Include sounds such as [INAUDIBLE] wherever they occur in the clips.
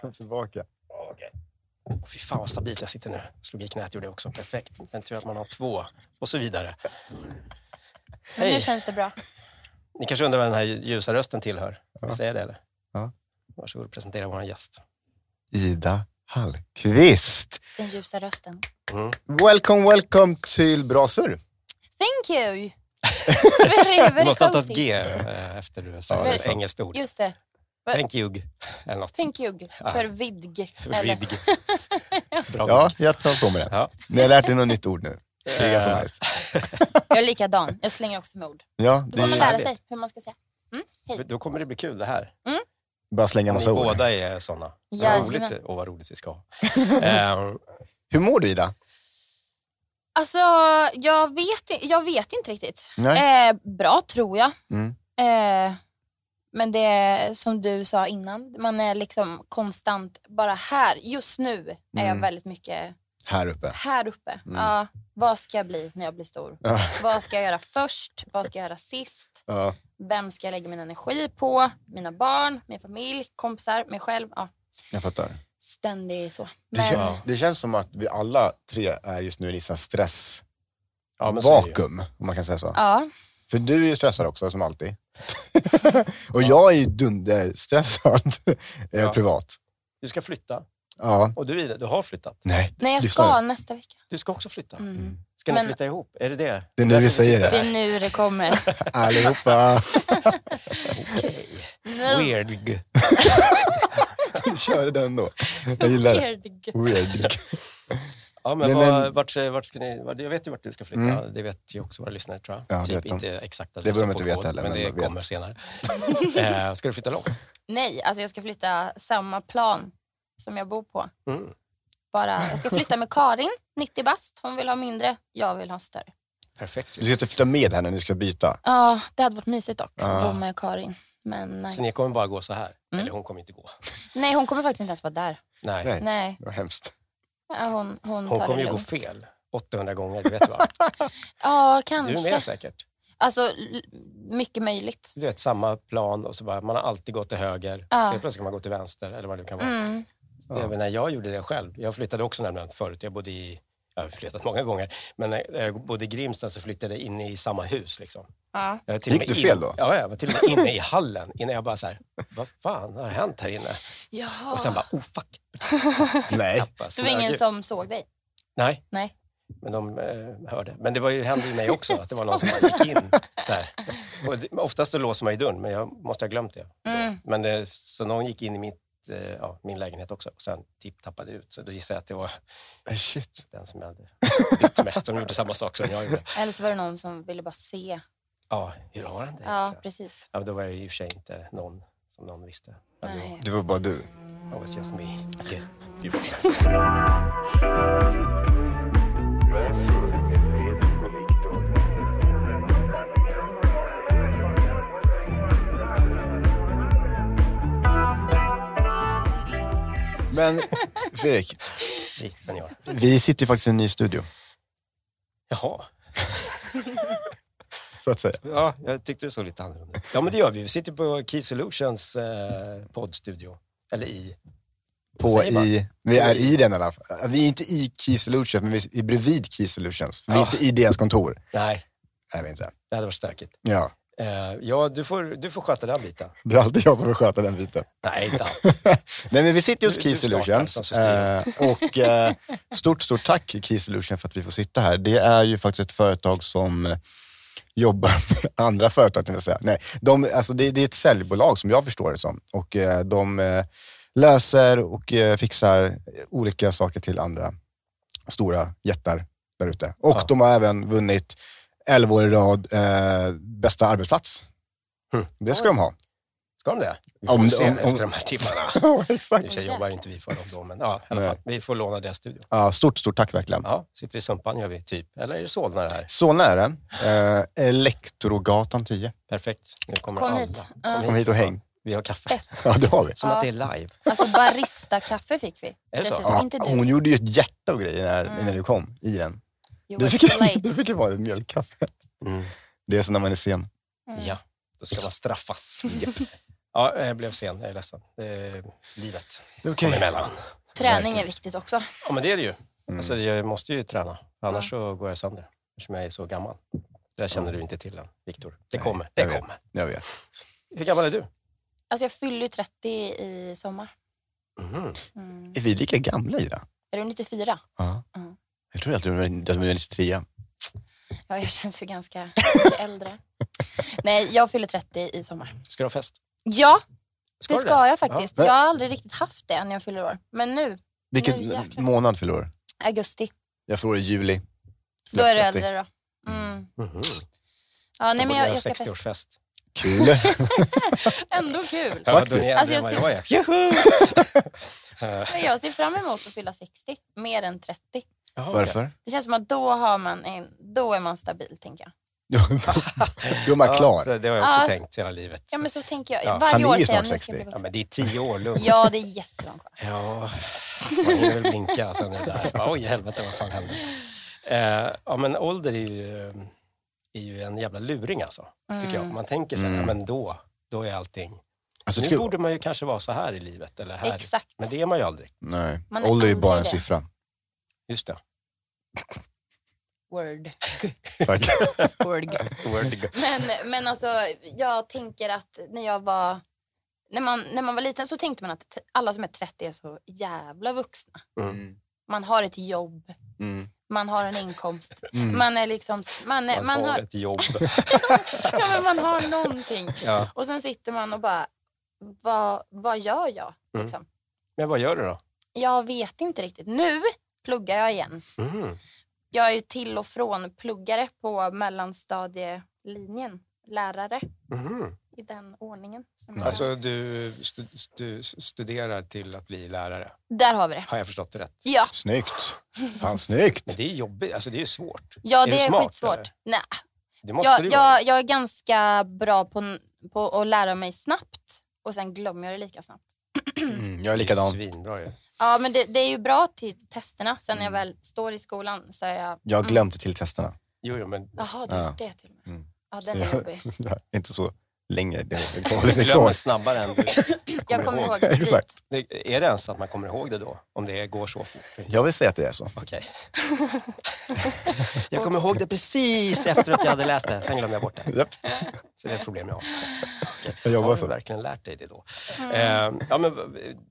Kom tillbaka. Okej. Åh, Fy fan vad stabilt jag sitter nu. Slog i knät, gjorde jag också. Perfekt. Men tur att man har två. Och så vidare. Men nu Hej. känns det bra. Ni kanske undrar vad den här ljusa rösten tillhör? Ska vi Ja. säga det eller? Ja. Varsågod och presentera vår gäst. Ida Hallqvist. Den ljusa rösten. Mm. Welcome, welcome till Bra Surr. Thank you! very, very Du måste ha tagit cozy. G eh, efter du sa Ja, det är ett sant. engelskt ord. Just det. Va- Thank you. Eller något. Thank you. Ja. För vidg. Eller? Vidg. [LAUGHS] Bra Ja, ord. jag tar på mig det. Ja. Ni har lärt er något nytt ord nu. Det är ganska Eh, nice. Jag är likadan. Jag slänger också med ord. Ja, Då det får man lära är sig hur man ska säga. Då kommer det bli kul det här. bara slänga Ni massa ord. båda är såna. Vad Jajamän. roligt, och vad roligt vi ska [LAUGHS] ha. Eh, Hur mår du Ida? Alltså, jag vet, i- jag vet inte riktigt. Nej? Eh, bra, tror jag. Mm. Eh, men det är som du sa innan, man är liksom konstant bara här. Just nu är jag Mm. väldigt mycket Här uppe. här uppe. Mm. Ja, vad ska jag bli när jag blir stor? Ja. Vad ska jag göra först? Vad ska jag göra sist? Ja. Vem ska jag lägga min energi på? Mina barn, min familj, kompisar, mig själv. Ja, Jag fattar. ständigt så. Det, Men, kän, det känns som att vi alla tre är just nu i en sån här stressvakuum, ja, men så är det ju. om man kan säga så. ja, För du är ju stressad också, som alltid. [LAUGHS] och jag är ju dunderstressad [LAUGHS] eh, Ja. privat. Du ska flytta. Ja. Och du, Ida, du har flyttat. Nej, nej, jag lyssna ska nu. nästa vecka. Du ska också flytta. Mm. Ska ni Men- flytta ihop? Är det det? Det är nu Därför vi säger sitter Det här. är nu det kommer. Allihopa, Okej. Nu. Weird. [LAUGHS] vi körde den då. Jag gillar det. Weird. Ja, men Men var, den- vart, vart ska ni, vart, jag vet ju vart du ska flytta. Mm. Det vet ju också våra lyssnare tror jag. Ja, det vet typ de. inte exakt Det behöver de inte på veta kod, heller, Men men det de vet. kommer senare. [LAUGHS] eh, ska du flytta långt? Nej, alltså jag ska flytta samma plan som jag bor på. Mm. Bara, jag ska flytta med Karin, 90 bast. Hon vill ha mindre, jag vill ha större. Perfekt. Du ska inte flytta med henne, ni ska byta. Ja, det hade varit mysigt dock att Ja. bo med Karin. Men Så nej. ni kommer bara gå så här? Mm. Eller hon kommer inte gå? nej, hon kommer faktiskt inte ens vara där. Nej. Nej. Nej, Det var hemskt. ja, hon, hon, Hon tar kommer det ju gå lugnt. fel 800 gånger, det vet du [LAUGHS] va? Ja, Du kanske. är med säkert. Alltså, l- mycket möjligt. Du vet, samma plan och så bara, man har alltid gått till höger. Ja. Så helt plötsligt kan man gå till vänster eller vad det nu kan vara. Mm. Jag, menar, jag gjorde det själv. Jag flyttade också nämligen förut. Jag bodde i, jag har flyttat många gånger, men när jag bodde i Grimsta så flyttade jag in i samma hus. Liksom. Ja. Jag var till och Gick med du in- fel då? Ja, jag var till och [LAUGHS] med inne i hallen innan jag bara så här, vad fan har hänt här inne? Jaha. Och sen bara, oh fuck. [LAUGHS] Nej. Tappa, det var ingen snögul. som såg dig? Nej. Nej. Men de eh, hörde. Men det var ju, hände ju mig också, att det var någon som bara gick in. Så här. Och det, oftast då låser man ju dörren, men jag måste ha glömt det. Mm. Men det, så någon gick in i mitt, eh, ja, min lägenhet också och sen typ tappade ut. Så då gissar jag att det var Shit. den som jag hade bytt med, som gjorde samma sak som jag gjorde. Eller så var det någon som ville bara se. Ja, hur har han det? Ja, egentligen? precis. Ja, men då var jag ju i och för sig inte någon som någon visste. Men Nej. Det var bara du. det was just me. Yeah. Men Fredrik, Si, senor. vi sitter ju faktiskt i en ny studio. Jaha. Så att säga. Ja, jag tyckte det såg lite annorlunda ut. Ja, men det gör vi. Vi sitter på Key Solutions eh, poddstudio. Eller i. På Säg bara. i, vi är i den i alla fall. Vi är inte i Key Solutions, men vi är bredvid Key Solutions. Vi är Ja. inte i deras kontor. Nej, Nej, vi är inte. det hade varit stökigt. Ja, Eh, ja, du får, du får sköta den biten. det är alltid jag som får sköta den biten. Nej, inte alls. [LAUGHS] Nej, men vi sitter just Du- Key du startar som Solutions. system. Eh, och eh, stort, stort tack Key Solutions för att vi får sitta här. Det är ju faktiskt ett företag som eh, jobbar [LAUGHS] med andra företag, tänkte jag säga. Nej, de, alltså, det, det är ett säljbolag som jag förstår det som. Och eh, de eh, löser och eh, fixar olika saker till andra stora jättar där ute. Och Ja. de har även vunnit 11 år i rad eh, bästa arbetsplats. Hm. Det ska de ha. Ska de det? Vi får Om- se om- om- efter de här timmarna. [LAUGHS] Ja, exakt. I och för sig jobbar inte vi för dem då, men ja, i alla Nej. fall. Vi får låna deras studio. Ja, stort, stort tack verkligen. Ja, sitter i Sumpan gör vi, typ. Eller är det Solna det här? Solna är det. Eh, Elektrogatan 10. Perfekt. Nu kommer Kom alla. hit. Ja. Kom hit och häng. Vi har kaffe. Fest. Ja, [LAUGHS] det har vi. Som Ja. att det är live. Alltså barista-kaffe fick vi. Är det så? Dessutom, inte du. hon gjorde ju ett hjärta och grejer när, Mm. när du kom i den. You Du were fick, too late. du fick ju bara ett mjölkkaffe. Mm. Det är så när man är sen. Mm. Ja, då ska man straffas. [LAUGHS] Ja, jag blev sen. Jag är ledsen. Det är livet Okej. kom emellan. Träning är Verkligen. viktigt också. Ja, men det är det ju. Mm. Alltså, jag måste ju träna, annars så går jag sönder. Eftersom jag är så gammal. Det här känner du inte till än, Viktor. Det Nej, kommer. Det jag vet. kommer. Jag vet. Hur gammal är du? Alltså jag fyller ju 30 i sommar. Mm. Mm. Är vi lika gamla, Ida? Är du 94? Ja. Mm. Jag tror att du är- att du är 93. Ja, jag känns ju ganska äldre. Nej, jag fyller 30 i sommar. Ska du ha fest? Ja, Ska det du ska jag faktiskt. Ja. Jag har aldrig riktigt haft det när jag fyller år. Men nu, Vilken Nu jäklar. månad fyller du? augusti, Jag fyller år i juli. då är du 30. äldre då. Mm. Ja. Mhm. Ja, nej, men jag, jag ska festa. 60-årsfest. [LAUGHS] Kul. Ändå kul. Ja, Faktiskt. då är ni Alltså, äldre än jag vad ser- jag är. Juhu! Eh, Men jag ser fram emot att fylla 60, mer än 30. jaha, okej. Varför? [LAUGHS] Det känns som att då, har man en, då är man stabil, tänker jag. Ja, då är man Ja, klar. så det har jag också Ja. tänkt hela livet. Ja, men så tänker jag. Ja. Varje Han är år ju säger jag, snart nu 60. ska jag bli Ja, vuxen. men det är tio år lugnt. Ja, det är jättelångt kvar. [LAUGHS] Ja, man hinner väl blinka sen är det där. Ja, Oj, helvete vad fan hände? Eh, ja, men ålder är ju, eh, är ju en jävla luring alltså, tycker jag. Mm. Man tänker så här, Mm. ja, men då, då är allting... Alltså, Nu det ska- borde man ju kanske vara så här i livet, eller här. Exakt. Men det är man ju aldrig. Nej, Man är ålder är ju aldrig bara en det. siffra. Just det. Word. Tack. Word. [LAUGHS] Men, men alltså, jag tänker att när jag var... När man, när man var liten så tänkte man att t- alla som är 30 är så jävla vuxna. Mm. Man har ett jobb, Mm. man har en inkomst, Mm. man är liksom... Man, är, Man, man, har, har, ett jobb. ja, men man har någonting. ja. Och sen sitter man och bara, vad, vad gör jag? Mm. Liksom. Men vad gör du då? Jag vet inte riktigt. Nu pluggar jag igen. Mm. Jag är ju till och från pluggare på mellanstadielinjen. Lärare Mhm. i den ordningen. Som Nice. jag- Alltså, du, stu, du studerar till att bli lärare. Där har vi det. Har jag förstått det rätt? Ja, Snyggt. Fan, snyggt. Men det är jobbigt, alltså det är ju svårt. ja Är det du är smart, skitsvårt. eller? Nej, Det måste jag, du vara. jag, jag är ganska bra på, på att lära mig snabbt och sen glömmer jag det lika snabbt. Mm, jag är Det är likadan. Svinbra ju. Ja, men det, det är ju bra till testerna. Sen när jag Mm. väl står i skolan så är jag... Jag har glömt till testerna. [LAUGHS] Jo, jo, men Jaha, du har Ja. gjort det till och med. Mm. Ja, den Så är jag- jobbig. Inte så länge. Det du håller sig glömmer kvar. snabbare än du Jag kommer kommer ihåg. ihåg det. Exakt. [LAUGHS] Det- Är det ens att man kommer ihåg det då? Om det går så fort? Okej. Jag vill säga att det är så. [LAUGHS] Jag kommer ihåg det precis efter att jag hade läst det. Sen glömde jag bort det. Japp. Så det är ett problem jag har. Okej. Jag jobbar har så. du verkligen lärt dig det då? Mm. Eh, ja, men, v-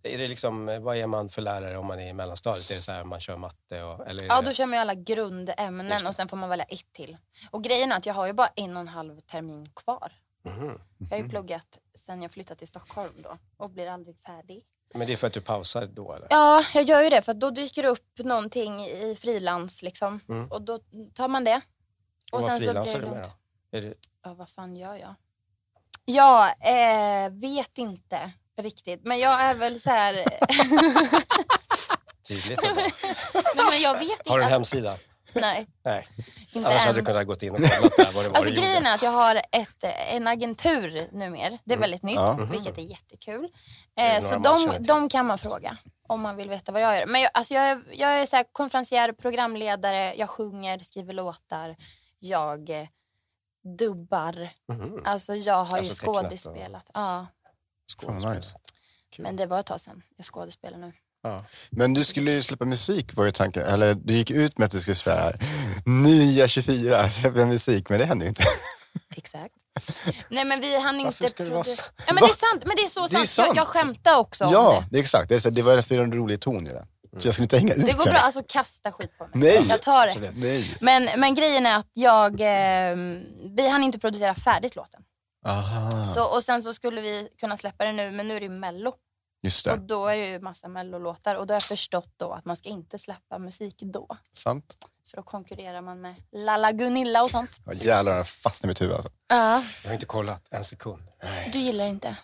är det liksom, vad är man för lärare om man är i mellanstadiet? Är det så här man kör matte? Och, eller är Ja, det, då kör man ju alla Just grundämnen det. och sen får man välja ett till. Och grejen är att jag har ju bara en och en halv termin kvar. Mhm. Jag har ju pluggat sen jag flyttade till Stockholm då och blir aldrig färdig. Men det är för att du pausar då eller? Ja, jag gör ju det för att då dyker det upp någonting i frilans liksom. Mm. Och då tar man det. och vad frilansar du lugnt. med då? Är det, Ja, vad fan gör jag? Ja, eh, vet inte riktigt. Men jag är väl så här... [LAUGHS] tydligt ändå. nej, men jag vet inte. Har du en Alltså, hemsida? nej, Nej. inte Annars än. hade du kunnat gå in och kollat där vad det var Alltså du gjorde. grejen är att jag har ett, en agentur numera. Det är väldigt nytt, Ja. vilket är jättekul. Mm. är Eh, några så man känner de, till. de kan man fråga om man vill veta vad jag gör. Men jag, alltså jag är, jag är så här konferencier, programledare, jag sjunger, skriver låtar, jag eh, dubbar. Mhm. Alltså jag har Alltså ju tecknat och- skådespelat. Ja, Fan, vad nice. Kul. men det var ett tag sedan. Jag skådespelar nu. Ja. Men du skulle ju släppa musik var ju tanken. Eller du gick ut med att du skulle säga nya 24, [LAUGHS] släppa musik. Men det hände ju inte. Exakt. Nej men vi hann Varför inte... ska det vara produ- så? ja, men det är sant, men det är så Det är sant. Jag, sant. jag skämtar också om Ja, det. det är exakt. Det, är så, det var därför det är en rolig ton i det. Så jag skulle inte hänga ut Det går henne. bra, alltså kasta skit på mig. Nej. Jag tar det. Absolut. Nej. Men, men grejen är att jag, eh, vi hann inte producera färdigt låten. Ah. Aha, Så, och sen så skulle vi kunna släppa det nu, men nu är det ju mello. just Och det. då är det ju massa mellolåtar. Och då har jag förstått då att man ska inte släppa musik då. Sant. För då konkurrerar man med Lalla Gunilla och sånt. Ja, jävlar, den fastnade i mitt huvud. Alltså. Ja, Jag har inte kollat en sekund. du gillar inte.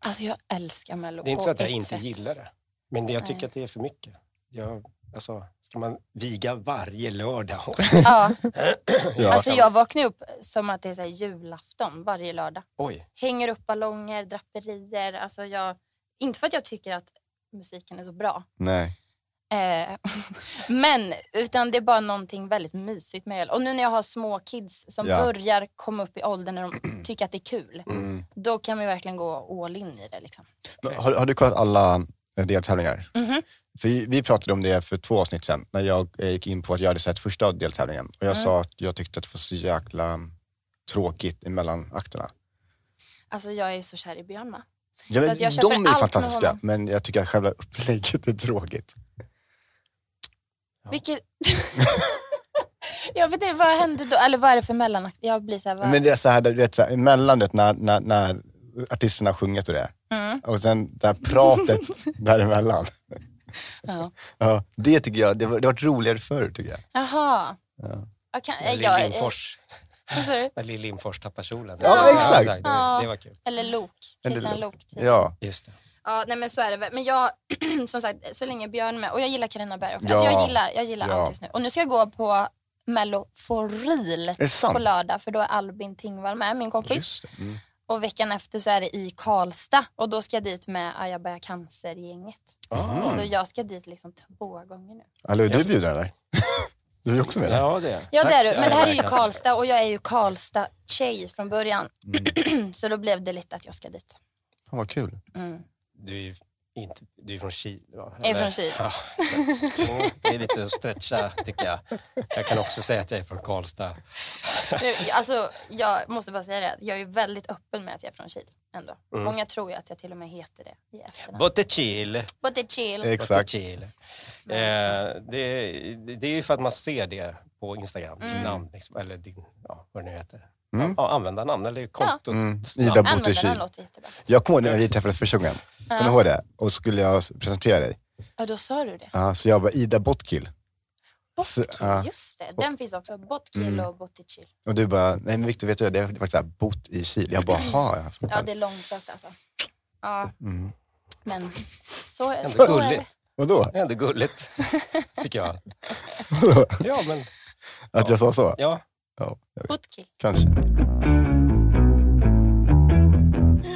Alltså jag älskar mello Det är inte på så att jag ett inte sätt. gillar det. Men jag tycker Nej. att det är för mycket. Jag, alltså, ska man viga varje lördag? [LAUGHS] Ja, Ja. alltså jag vaknar upp som att det är så här julafton varje lördag. Oj. hänger upp ballonger, draperier. Alltså jag, inte för att jag tycker att musiken är så bra, Nej. Eh, [LAUGHS] men utan det är bara någonting väldigt mysigt med öl. Och nu när jag har små kids som Ja. börjar komma upp i åldern när [CLEARS THROAT] de tycker att det är kul. Mm. Då kan man ju verkligen gå all in i det. Liksom. Men Har, har du kollat alla eh, deltävlingar? Mhm. För vi vi pratade om det för två avsnitt sedan, när jag eh, gick in på att jag hade sett första deltävlingen. Och Mm. jag sa att jag tyckte att det var så jäkla tråkigt emellan akterna. Alltså jag är ju så kär i Björn va? Ja, Så men att jag köper de allt är ju med fantastiska, honom. men jag tycker att själva upplägget är tråkigt. Vilket... [LAUGHS] jag vet inte, vad hände då? Eller vad är det för mellanakt? Jag blir såhär, vad... Men det är så här, du vet, så här emellan du vet, när, när, när artisterna har sjungit och det. Mm, Och sen det här [LAUGHS] pratet däremellan. ja. Ja, det tycker jag, det var, det var roligare förr tycker jag. Jaha. Ja. Jag kan, När eh, Lill jag, eh, Lindfors, vad sa du? när Lill Lindfors tappar kjolen. Ja, exakt. det, Ja. det var kul. Eller Lok. Eller Christian Lok. typ. Ja, Just det. Ja, nej men så är det väl. Men jag, [CLEARS THROAT] som sagt, så länge Björn är med. Och jag gillar Carina Berg också. Ja. Alltså jag gillar, jag gillar Ja. allt just nu. Och nu ska jag gå på Mello for real är det sant? på lördag. För då är Albin Tingvall med, min kompis. Just det. Mm. Och veckan efter så är det i Karlstad. Och då ska jag dit med Aja Bära Cancer-gänget. Mm. Ah. Så jag ska dit liksom två gånger nu. Hallå, är du bjuden eller? [LAUGHS] Du är ju också med där. Ja, det är Ja det är du. Tack. Men det här är ju Aja Bära Cancer. Karlstad och jag är ju Karlstad-tjej från början. Mm. [CLEARS THROAT] så då blev det lite att jag ska dit. Fan vad kul. Mm. Du är ju inte, du är från Chile va? Jag är Eller? från Chile. Ja, så- det är lite att stretcha tycker jag. Jag kan också säga att jag är från Karlstad. Nu, alltså, jag måste bara säga det, att jag är ju väldigt öppen med att jag är från Chile. Ändå. Mm. Många tror ju att jag till och med heter det i efternamn. Bottichile. But the Chile. Exakt. Bottichile. Eh, det, det är ju för att man ser det på Instagram, Mm. namn, liksom, eller din, ja, vad det nu heter. Mm. Ja, användarnamn eller kontot. Mm. Ja. Ida Användaren Botekil. låter jättebra. Jag kommer ihåg när vi träffades första gången, kommer du Ja. ihåg det? Och skulle jag presentera dig. ja, då sa du det. Ja, så jag bara, Ida Botkil. Så, Botkil, ja. just det. Den finns också. Botkil Mm. och Bottichil. Och du bara, nej men Victor vet du, det är faktiskt så här, bott i Kil. Jag bara, jaha. jag fattar. Ja, det är långsökt alltså. Ja, Mm. men så, Ändå så är det. gulligt. Vadå? Det är ändå gulligt, [LAUGHS] tycker jag. Vadå? Ja, men Att jag sa så? ja. Ja, jag vet. Botkil. kanske.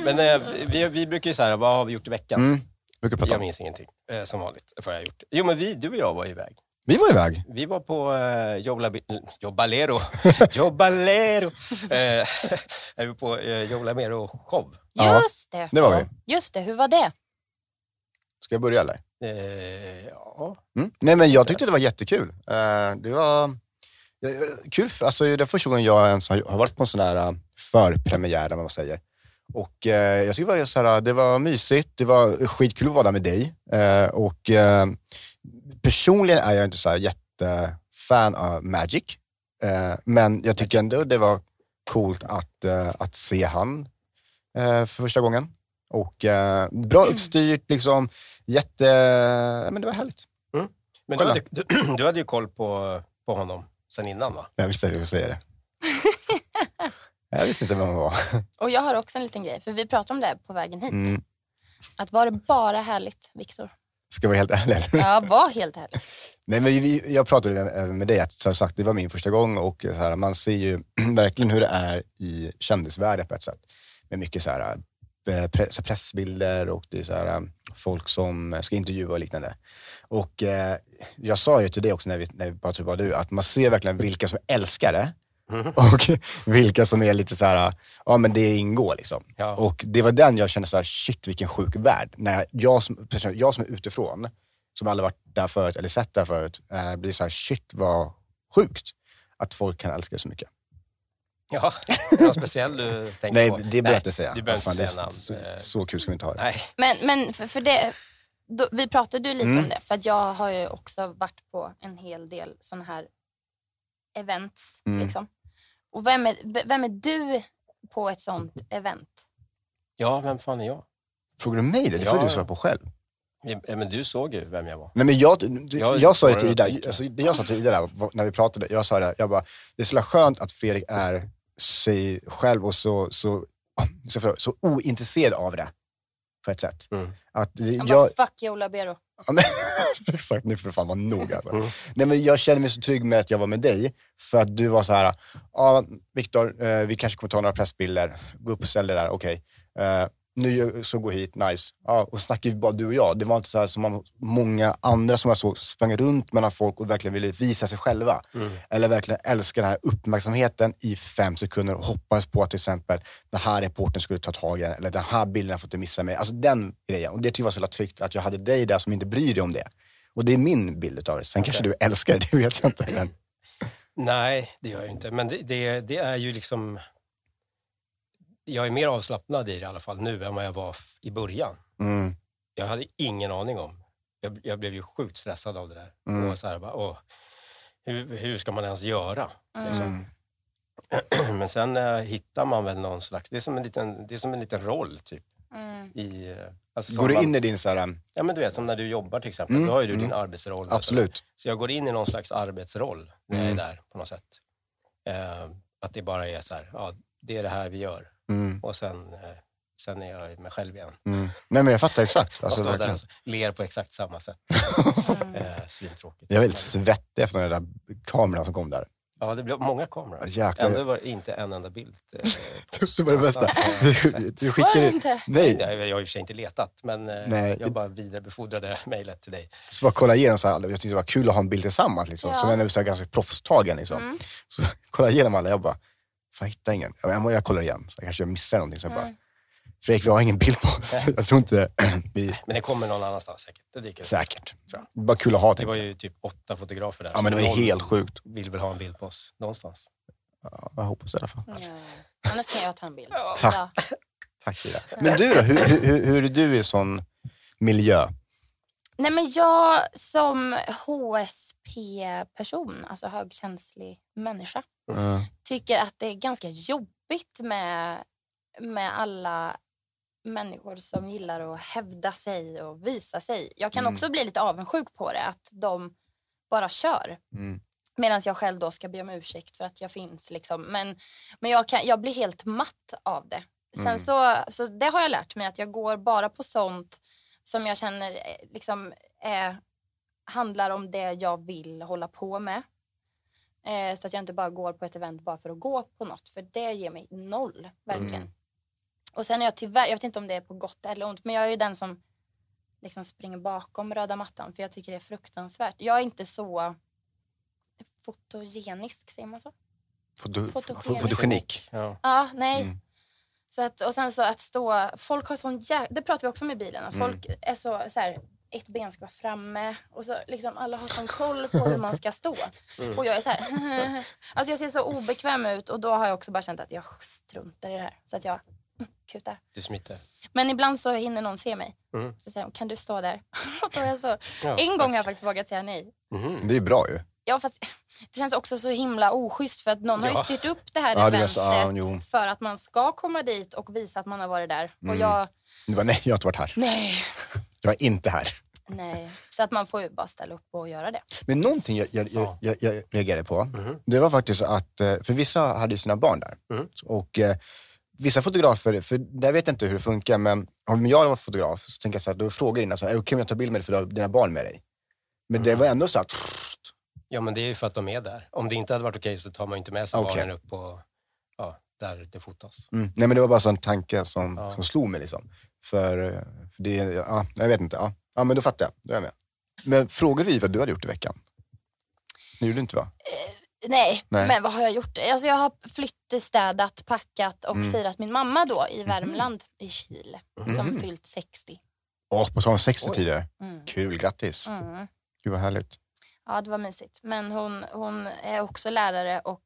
Men eh, vi, vi brukar ju så här, vad har vi gjort i veckan? Mm. Brukar prata Jag om. minns ingenting, eh, som vanligt. Vad jag har gjort. Jo, men vi, du och jag var iväg. Vi var iväg. Vi var på eh, Jobla- [LAUGHS] [LAUGHS] Jobbalero. Jobbalero! Eh, [LAUGHS] vi var på eh, Jobbalero show. Ja, Just det. det var vi. Just det, hur var det? Ska jag börja eller? Eh, ja. Mm. Nej, men jag tyckte det var jättekul. Eh, Det var eh, kul, för- alltså, det är första gången jag ens har har varit på en sån här eh, förpremiär, eller vad man säger. Och eh, jag tycker det var, så här, det var mysigt, det var skitkul att vara där med dig. Eh, och eh, personligen är jag inte så här jättefan av Magic, eh, men jag tycker ändå det var coolt att, eh, att se han eh, för första gången. Och eh, bra uppstyrt, liksom, jätte... ja, Men det var härligt. Men du Kolla. hade, du, du [CLEARS THROAT] hade ju koll på, på honom sen innan, va? Jag visste att jag skulle säga det. jag visste inte vem han var. Och jag har också en liten grej, för vi pratade om det här på vägen hit. Mm. Att var det bara härligt, Viktor? Ska jag vara helt ärlig? eller? Ja, var helt härligt. Nej, men vi, jag pratade eh, med- med dig, att som sagt, det var min första gång och så här, man ser ju [CLEARS THROAT] verkligen hur det är i kändisvärlden på ett sätt. Med mycket så här, eh, pre- så här pressbilder och det är så här, eh, folk som ska intervjua och liknande. Och eh, jag sa ju till dig också när vi, när vi pratade var du, att man ser verkligen vilka som älskar det [LAUGHS] och vilka som är lite så här, ja men det ingår liksom. Ja. Och det var den jag kände så här, shit vilken sjuk värld. När jag som, jag som är utifrån, som aldrig varit där förut eller sett där förut, eh, blir så här, shit vad sjukt att folk kan älska det så mycket. Ja, [LAUGHS] är det någon speciell du tänker Nej, på? det behöver jag inte säga. Du behöver inte Fan, det är säga namn. Så, Eh, så kul ska vi inte ha det. Nej, Men, men för, för det, då, vi pratade ju lite Mm. om det, för att jag har ju också varit på en hel del sådana här events. Mm. Liksom. Och vem är, v- vem är du på ett sånt event? ja, vem fan är jag? Frågar du mig det? Det får Ja. du svara på själv. Ja, men du såg ju vem jag var. Nej, men jag, jag, Jag sa ju svarar till och Ida, tänker. alltså, det jag sa till Ida där, var- när vi pratade, jag sa det, jag bara, det är så jävla skönt att Fredrik är sig själv och så, så, så, så, så ointresserad av det. På ett sätt. Mm. Att det- Han jag, bara, fuck Joe Labero. ja, men, [LAUGHS] exakt, nu får du fan vara nog alltså. Mm. Nej, men jag kände mig så trygg med att jag var med dig, för att du var så här, ja Viktor, eh, vi kanske kommer ta några pressbilder, gå upp och ställ dig där, okej. Eh, nu gör- så gå hit, nice. Ja, och snackade ju bara du och jag. Det var inte så här som man, många andra som jag såg sprang runt mellan folk och verkligen ville visa sig själva. Eller verkligen älska den här uppmärksamheten i fem sekunder och hoppas på att till exempel den här reporten skulle ta tag i den, eller den här bilden får inte missa mig. Alltså den grejen. Och det tyckte jag var så jävla tryggt, att jag hade dig där som inte bryr dig om det. Och det är min bild av det. Sen kanske du älskar det, [LAUGHS] det vet jag inte. Men, Nej, det gör jag inte. Men det, det, det är ju liksom... Jag är mer avslappnad i det i alla fall nu än vad jag var f- i början. mm, Jag hade ingen aning om. Jag, jag blev ju sjukt stressad av det där. Mm. Och så här, bara, åh, hur, hur ska man ens göra? [CLEARS THROAT] Mm. Men sen eh, hittar man väl någon slags... Det är som en liten, det är som en liten roll, typ. Mm. [LAUGHS] I, eh, alltså, Går du som in man- i din så här, Ja, men du vet, som när du jobbar till exempel. Mm, Då har ju du mm. din arbetsroll. och så. absolut. Så jag går in i någon slags arbetsroll när Mm. jag är där på något sätt. Eh, att det bara är så här, ja, det är det här vi gör. Mm, Och sen, eh, sen är jag mig själv igen. mm. Nej men jag fattar exakt. Alltså, Alltså, står där verkligen. och ler på exakt samma sätt. mm. Eh, svintråkigt. Jag är väldigt svettig efter den där kameran som kom där. Ja, det blev många kameror. Jäklar. Ändå var det inte en enda bild. eh, på oss. Det var det bästa. Någonstans har jag sett. [LAUGHS] Du, du Var det skickade... inte? Nej, Nej, Jag har i och för sig inte letat, men eh, Nej. jag bara vidarebefordrade mejlet till dig. så bara kolla igenom så här, jag tyckte det var kul att ha en bild tillsammans. Liksom. Ja. Som ändå är så här ganska proffstagen. Liksom. Mm. Så [LAUGHS] kolla igenom alla, jag bara, fan jag hittar ingen. Jag, bara, jag, må- jag kollar igen, så kanske jag missar någonting. Så jag bara, Mm. Fredrik vi har ingen bild på oss. [LAUGHS] Jag tror inte [CLEARS THROAT] vi... Men det kommer någon annanstans säkert. Det dyker upp. Säkert. Tror Bara kul att ha Det det. var ju typ åtta fotografer där. Ja men det var Någon ju helt sjukt. vill väl ha en bild på oss någonstans. Ja, jag hoppas det i alla fall. Ja. Annars kan jag ta en bild. Tack. Ja. Tack Ida. Men du då, hur, hur, hur- hur är du i sån miljö? Nej, men jag som HSP-person, alltså högkänslig människa, Mm. tycker att det är ganska jobbigt med, med alla människor som gillar att hävda sig och visa sig. Jag kan Mm. också bli lite avundsjuk på det, att de bara kör. Mm. Medan jag själv då ska be om ursäkt för att jag finns. Liksom. Men, men jag, kan, jag blir helt matt av det. Sen Mm. så, så det har jag lärt mig, att jag går bara på sånt som jag känner eh, liksom, eh, handlar om det jag vill hålla på med. Eh, så att jag inte bara går på ett event bara för att gå på något. För det ger mig noll, verkligen. Mm. Och sen är jag tyvärr, jag vet inte om det är på gott eller ont, men jag är ju den som liksom springer bakom röda mattan. För jag tycker det är fruktansvärt. Jag är inte så fotogenisk, säger man så? Foto, Fotogenik. fotogenik. Ja. Ja, nej. Mm. Så att, och sen så att stå... Folk har sån jä... Det pratar vi också om i bilen. Att Mm. folk är så, så här, ett ben ska vara framme och så liksom alla har sån koll på hur man ska stå. Mm. Och jag är så här... [LAUGHS] alltså jag ser så obekväm ut och då har jag också bara känt att jag struntar i det här. Så att jag kutar. Du smiter. Men ibland så hinner någon se mig. Mm. Så säger de, kan du stå där? [LAUGHS] och då är jag så... Ja. En gång har jag faktiskt vågat säga nej. Mhm. Det är ju bra ju. Ja, fast [LAUGHS] det känns också så himla oschysst för att någon har ju Ja. styrt upp det här Ja, det är eventet så- ja, jo. för att man ska komma dit och visa att man har varit där. Mm. Och jag, Du bara, nej jag har inte varit här. nej, Jag är inte här. nej. Så att man får ju bara ställa upp och göra det. Men någonting jag, jag, jag, Ja. jag, jag reagerade på, Mhm. det var faktiskt att, eh, för vissa hade ju sina barn där. Mm. Och eh, vissa fotografer, för där vet jag inte hur det funkar, men om jag var fotograf så tänker jag så här, då frågar jag innan, så här, är det okej om jag tar bild med dig för du har dina barn med dig? Men Mm. det var ändå så här, Ja, men det är ju för att de är där. Om det inte hade varit okej så tar man ju inte med sig Okej. barnen upp på ja, där det fotas. mm. nej men det var bara så en tanke som, Ja. som slog mig liksom. För, eh, för det, ja, jag vet inte, ja. ja men då fattar jag, då är jag med. Men frågade vi vad du hade gjort i veckan? Det gjorde du inte va? Nej, Nej. men vad har jag gjort? Alltså jag har flytt, städat, packat och Mm. firat min mamma då i Värmland, i Kil, som Mhm. fyllt 60. Åh, på tal om 60 Oj. tidigare. Mm. Kul, grattis. Mm. Gud vad härligt. Ja, det var mysigt. Men hon, hon är också lärare och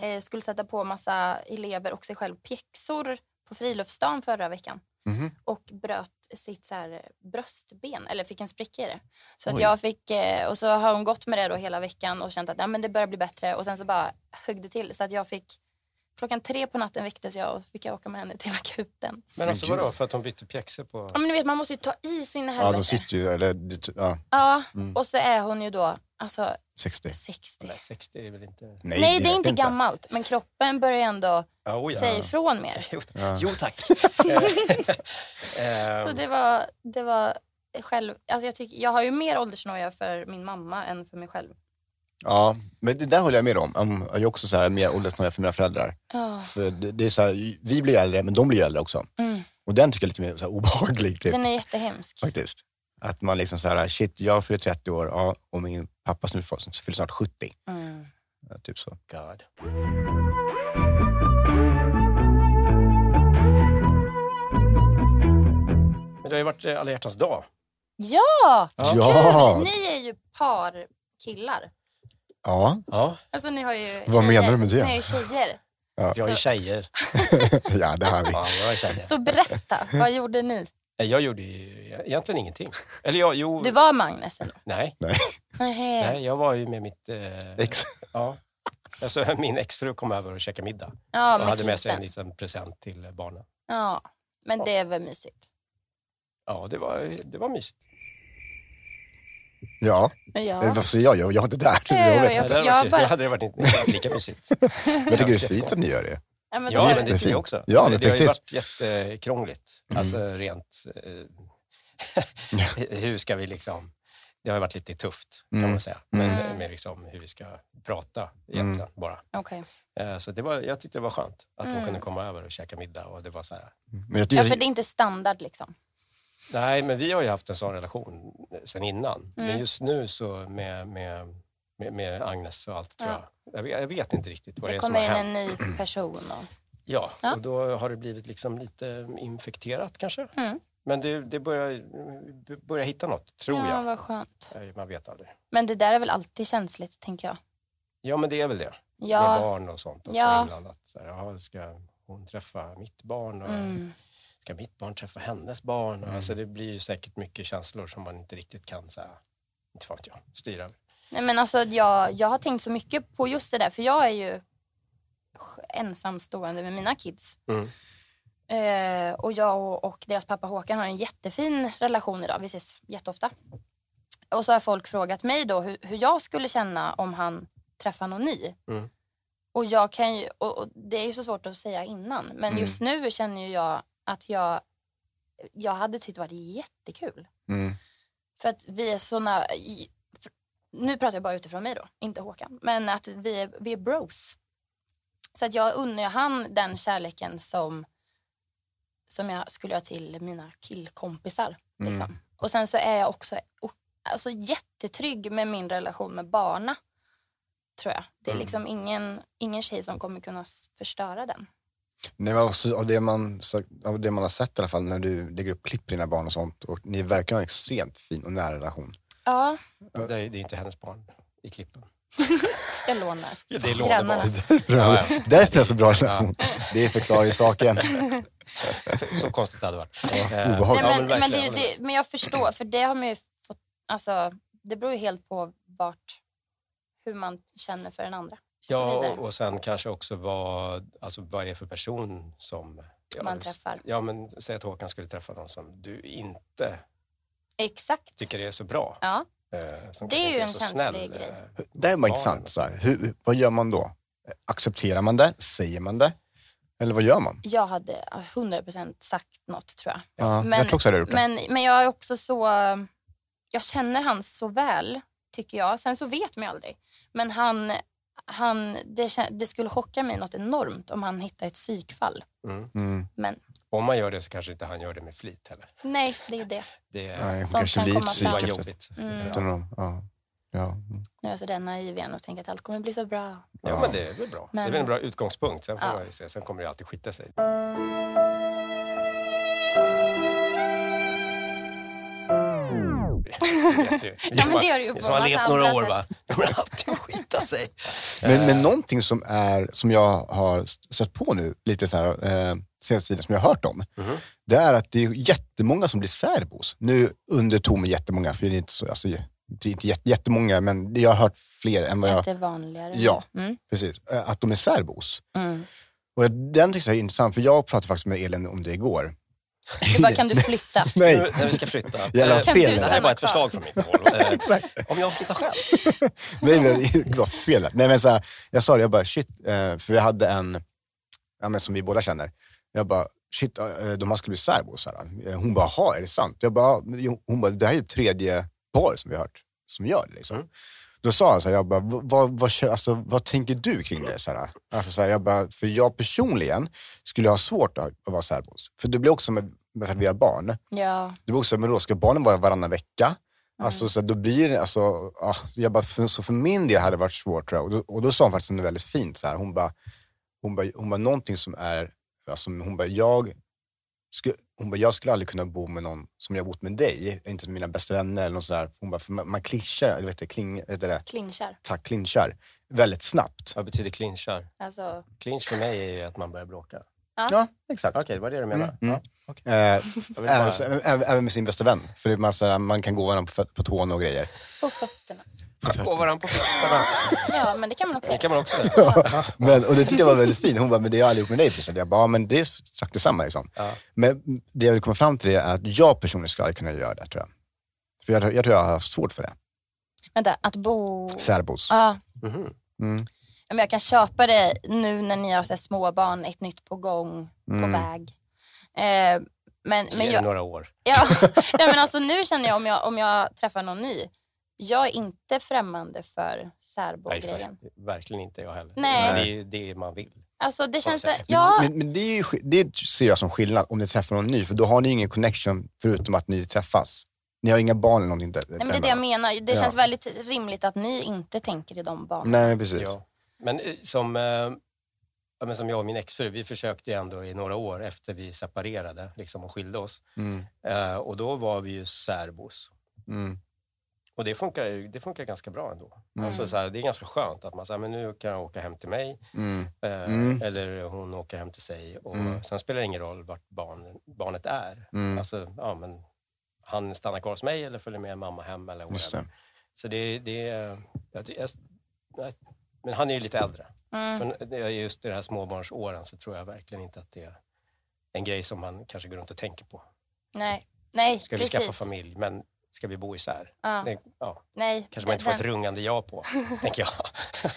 eh, skulle sätta på massa elever och sig själv pjäxor på friluftsdagen förra veckan Mhm. och bröt sitt så här bröstben, eller fick en spricka i det. Så att Oj. jag fick, eh, och så har hon gått med det då hela veckan och känt att ja, men det börjar bli bättre och sen så bara högg det till så att jag fick Klockan tre på natten väcktes jag och fick jag åka med henne till akuten. Men alltså gud. vadå, för att de bytte pjäxor på... Ja, men du vet, man måste ju ta i så in i Ja, helvete. de sitter ju, eller, det- ja, Ja, Mm. och så är hon ju då alltså 60. 60. Nej, 60 är väl inte... Nej, Nej, det vet är jag inte gammalt. Men kroppen börjar ändå Ja, oh, säga ja. ifrån mer. [LAUGHS] Jo, Ja. jo [LAUGHS] tack. Så Ehm, det var, det var själv... Alltså jag, tycker, jag har ju mer åldersnoja för min mamma än för mig själv. Ja, men det där håller jag med om. Om- Jag är också så här mer åldersnöjd för mina föräldrar. Ja. För det, det är så här, vi blir ju äldre, men de blir ju äldre också. Mm. Och den tycker jag är lite mer så här obehaglig. Typ, Den är jättehemsk. faktiskt. Att man liksom så här, shit, jag fyller 30 år ja, och min pappa snart fyller snart 70. Mm. Ja, typ så. God. Men det har ju varit eh, alla hjärtans dag. Ja! Ja. Ja! Ni är ju par killar. ja. [LAUGHS] Ja, Alltså ni har ju Vad tjejer. menar du med det? Ni är ju tjejer. jag är Så- tjejer. ja, det har vi. Ja, jag, är tjejer. Så berätta, vad gjorde ni? Nej, jag gjorde ju egentligen ingenting. Eller jag, jo, Du Eh. var Magnus ändå? nej, Nej. nej, jag var ju med mitt... Eh, Ex. Ja. Alltså, [LAUGHS] min exfru kom över och käkade middag Ja, och med hade med sig en kidsen. liten present till barnen. Ja, men det är väl mysigt? Ja, det var, det var mysigt. Ja, Ja. varför säger jag? Jag jag var inte där. Ja, ja, Jag, vet ja. inte. Nej, det hade jag varit, bara- det hade det varit inte, inte varit lika mysigt. [LAUGHS] Men jag tycker det är fint att ni gör det. Ja, men då Ja, men är det det. tycker Jättefint. jag också. Ja, men det, har ju riktigt. Mm. varit jättekrångligt. Alltså rent... Ja. Eh, [LAUGHS] hur ska vi liksom... Det har ju varit lite tufft, kan Mm. man säga. Mm. Med, Mm. med liksom hur vi ska prata egentligen bara. Okej. Eh, så det var, jag tyckte det var skönt att Mm. hon kunde komma över och käka middag. Och det var så här, Men jag Ja, tycker, för det är inte standard liksom. Nej, men vi har ju haft en sån relation eh, sen innan. Men Mm. just nu så med, med, med, med Agnes och allt, tror Ja. jag. Jag vet, jag vet inte riktigt vad det, Det är som har kommer in hänt. [CLEARS THROAT] en ny person. Och... Ja, Ja. och då har det blivit liksom lite infekterat kanske. Mm. Men det, det börjar, b- börjar hitta något, tror Ja, jag. vad skönt. Eh, Man vet aldrig. Men det där är väl alltid känsligt, tänker jag. Ja, men det är väl det. Med Ja. barn och sånt också Ja. inblandat. Så här, ja, ska hon träffa mitt barn? Och Mm. Ska mitt barn träffa hennes barn? Och Alltså, det blir ju säkert mycket känslor som man inte riktigt kan så här, inte vet jag, styra över. Nej, men alltså, jag, jag har tänkt så mycket på just det där, för jag är ju ensamstående med mina kids. Mm. Eh, och jag och, och deras pappa Håkan har en jättefin relation idag. Vi ses jätteofta. Och så har folk frågat mig då hur, hur jag skulle känna om han träffar någon ny. Mm. Och, jag kan ju, och, och Det är ju så svårt att säga innan, men Mm. just nu känner ju jag att jag, jag hade tyckt det varit jättekul. mm, För att vi är såna... i- för- Nu pratar jag bara utifrån mig då, inte Håkan. Men att vi är, vi är bros. Så att jag unnar ju han den kärleken som, som jag skulle ha till mina killkompisar. Liksom. Och sen så är jag också o- alltså, jättetrygg med min relation med barna. Tror jag. Det är Mm. liksom ingen, ingen tjej som kommer kunna s- förstöra den. Nej, men också, av, det man, sagt- av det man har sett i alla fall när du lägger upp klipp på dina barn och sånt och ni verkar ha en extremt fin och nära relation. Ja, Det är det är inte hennes barn i klippen. jag lånar. Det är Grannarnas. lånebarn. [LAUGHS] Ja, ja. Därför är det så bra relation. Det förklarar ju [LAUGHS] saken. Så konstigt det hade varit. Eh, obehagligt. ja, Nej, men, men, det, verkligen. det, men jag förstår, för det har man ju fått... Alltså, det beror ju helt på vart, hur man känner för den andra. så Ja, vidare. och sen kanske också vad, alltså, vad är det för person som... Ja, Man s- träffar. Ja, men säg att Håkan skulle träffa någon som du inte Exakt. tycker är så bra. Ja. eh, som kanske Det är ju inte en så känslig snäll, grej. eh, Det här var Ja, intressant. Så här. Hur, vad gör man då? Accepterar man det? Säger man det? Eller vad gör man? Jag hade 100% sagt något, tror jag. Ja, Men- jag tror också det. Men, Men, men jag är också så... Jag känner han så väl, tycker jag. Sen så vet man ju aldrig. Men han, han, det, kän- det skulle chocka mig något enormt om han hittar ett psykfall. mm. mm. Men Om man gör det så kanske inte han gör det med flit heller. nej, det är ju det. Det är Nej, hon Sånt kanske kan blir komma ett det var psyk fram. efter, jobbigt. Mm. efter Ja. någon. Ja. Ja. Nu är jag så där naiv igen och tänker att allt kommer bli så bra. ja, men det är väl bra. Det är väl en bra utgångspunkt. Sen, får Ja. man ju se. Sen kommer det alltid skita [LAUGHS] sig. Det vet ju. Ja, men det gör det ju på som har massa levt några andra år, sätt. va? Det kommer alltid att skita sig. [LAUGHS] Men, men Eh, någonting som, är, som jag har stött på nu, lite så här, eh, senaste tiden, som jag har hört om, Mhm. det är att det är jättemånga som blir särbos. Nu under tom är jättemånga, för det är inte, så, alltså, det är inte jätte- jättemånga, men jag har hört fler än vad Att jag... det är vanligare. Ja. Mm. Precis, eh, att de är särbos. Mm. Och jag- den tycker jag är intressant, för jag pratade faktiskt med Elin om det igår. Du bara, kan du flytta? Nej, Nu, när vi ska flytta. [LAUGHS] Jävla Eh, fel. Det här är bara ett förslag från mitt håll. [LAUGHS] Eh, Om jag flyttar själv? nej men vad fel. Nej, men så här, jag sa det, jag bara shit, eh, för vi hade en, ja, men som vi båda känner, jag bara shit, eh, de här skulle bli särbos. så här. Eh, Hon bara, jaha, är det sant? Jag bara, "Ja." hon bara, det här är ju tredje par som vi har hört som gör det. Liksom. Mm. Då sa han så här, jag bara, vad, vad, vad kö- alltså, vad tänker du kring det? Så här, alltså, så här, jag bara, för jag personligen skulle ha svårt att, ha- att vara särbos. För det blir också med, med att vi har barn. Ja. Det blir också, men då ska barnen vara varannan vecka. Alltså, så här, då blir det, alltså, ah, jag bara, för, så för min del hade det varit svårt tror jag. Och då, och då sa hon faktiskt något väldigt fint. Så här. Hon bara, hon bara, hon bara, någonting som är, alltså, hon bara, jag, sku, hon bara, jag skulle aldrig kunna bo med någon som jag bott med dig, inte med mina bästa vänner eller något sådär. Hon bara, för man, man klishar, eller vet det, kling, vet det, Clinchar. tack, clinchar väldigt snabbt. Vad betyder clinchar? Alltså, Clinch för mig är ju att man börjar bråka. Ja. Ja, exakt. Okej, det var det du menade? Mm, mm. Ja, Eh, okej. Jag vill även, bara... även, även med sin bästa vän. För det är massa, man kan gå varandra på, på tån och grejer. på fötterna. Gå varandra på fötterna. Ja, men det kan man också Det göra. kan [LAUGHS] man också göra. Ja. men, och det tyckte jag var väldigt fint. Hon bara, men det har jag aldrig gjort med dig. Precis. Jag bara, ja, men det är sagt detsamma. Liksom. Ja. Men det jag vill komma fram till är att jag personligen skulle aldrig kunna göra det, tror jag. För jag, jag tror jag har haft svårt för det. Vänta, att bo... Särbos. Ja, Mhm. Mm. men jag kan köpa det nu när ni har så här småbarn, ett nytt på gång, Mm. på väg. Eh, men, men Ge jag, det några år. Ja, [LAUGHS] nej, men alltså nu känner jag om, jag om jag träffar någon ny, jag är inte främmande för Nej, särbo-grejen. för- verkligen inte jag heller. Nej. Så Det är ju det man vill. Alltså det känns... sätt. Ja, Men, men det, är ju, sk- det ser jag som skillnad om ni träffar någon ny, för då har ni ingen connection förutom att ni träffas. Ni har inga barn eller någonting. Där, nej, men det är det jag menar. Det Ja. Mm. känns väldigt rimligt att ni inte tänker i de banorna. Nej, men precis. Ja. Men eh, som, eh, ja, men som jag och min exfru, vi försökte ju ändå i några år efter vi separerade liksom, och skilde oss. Mm. Eh, och då var vi ju särbos. Mm. Och det funkar, ju- det funkar ganska bra ändå. Mm. Alltså, så här, det är ganska skönt att man säger men nu kan jag åka hem till mig Mm. eh, Mm. eller hon åker hem till sig. Och Mm. Sen spelar det ingen roll vart barn, barnet är. Mm. Alltså, ja, men, han stannar kvar hos mig eller följer med mamma hem. Eller Just whatever. Så det, det är- jag, jag, jag, Men han är ju lite äldre. Mm. Men det är just i de här småbarnsåren så tror jag verkligen inte att det är en grej som man kanske går runt och tänker på. Nej, nej Ska vi skaffa precis. familj, men ska vi bo isär? Ja, Det, ja, nej, kanske man inte får ett rungande ja [LAUGHS] på, tänker jag.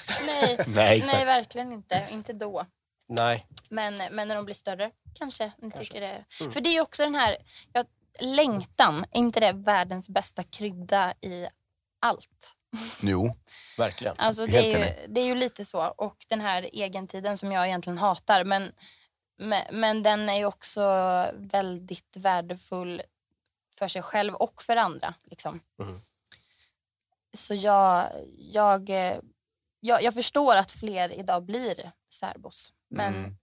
[LAUGHS] nej, Nej, exakt. nej, verkligen inte. Inte då. Nej, Men, men när de blir större kanske. Ni Tycker det. Mm. För det är ju också den här ja, längtan. Är inte det världens bästa krydda i allt? Jo. verkligen. Alltså, det, Helt är ju, det är ju lite så. Och den här egentiden som jag egentligen hatar. Men, men, men den är ju också väldigt värdefull för sig själv och för andra. Liksom. Mm. Mhm. Så jag, jag, eh, jag, jag förstår att fler idag blir särbos. Men Mm.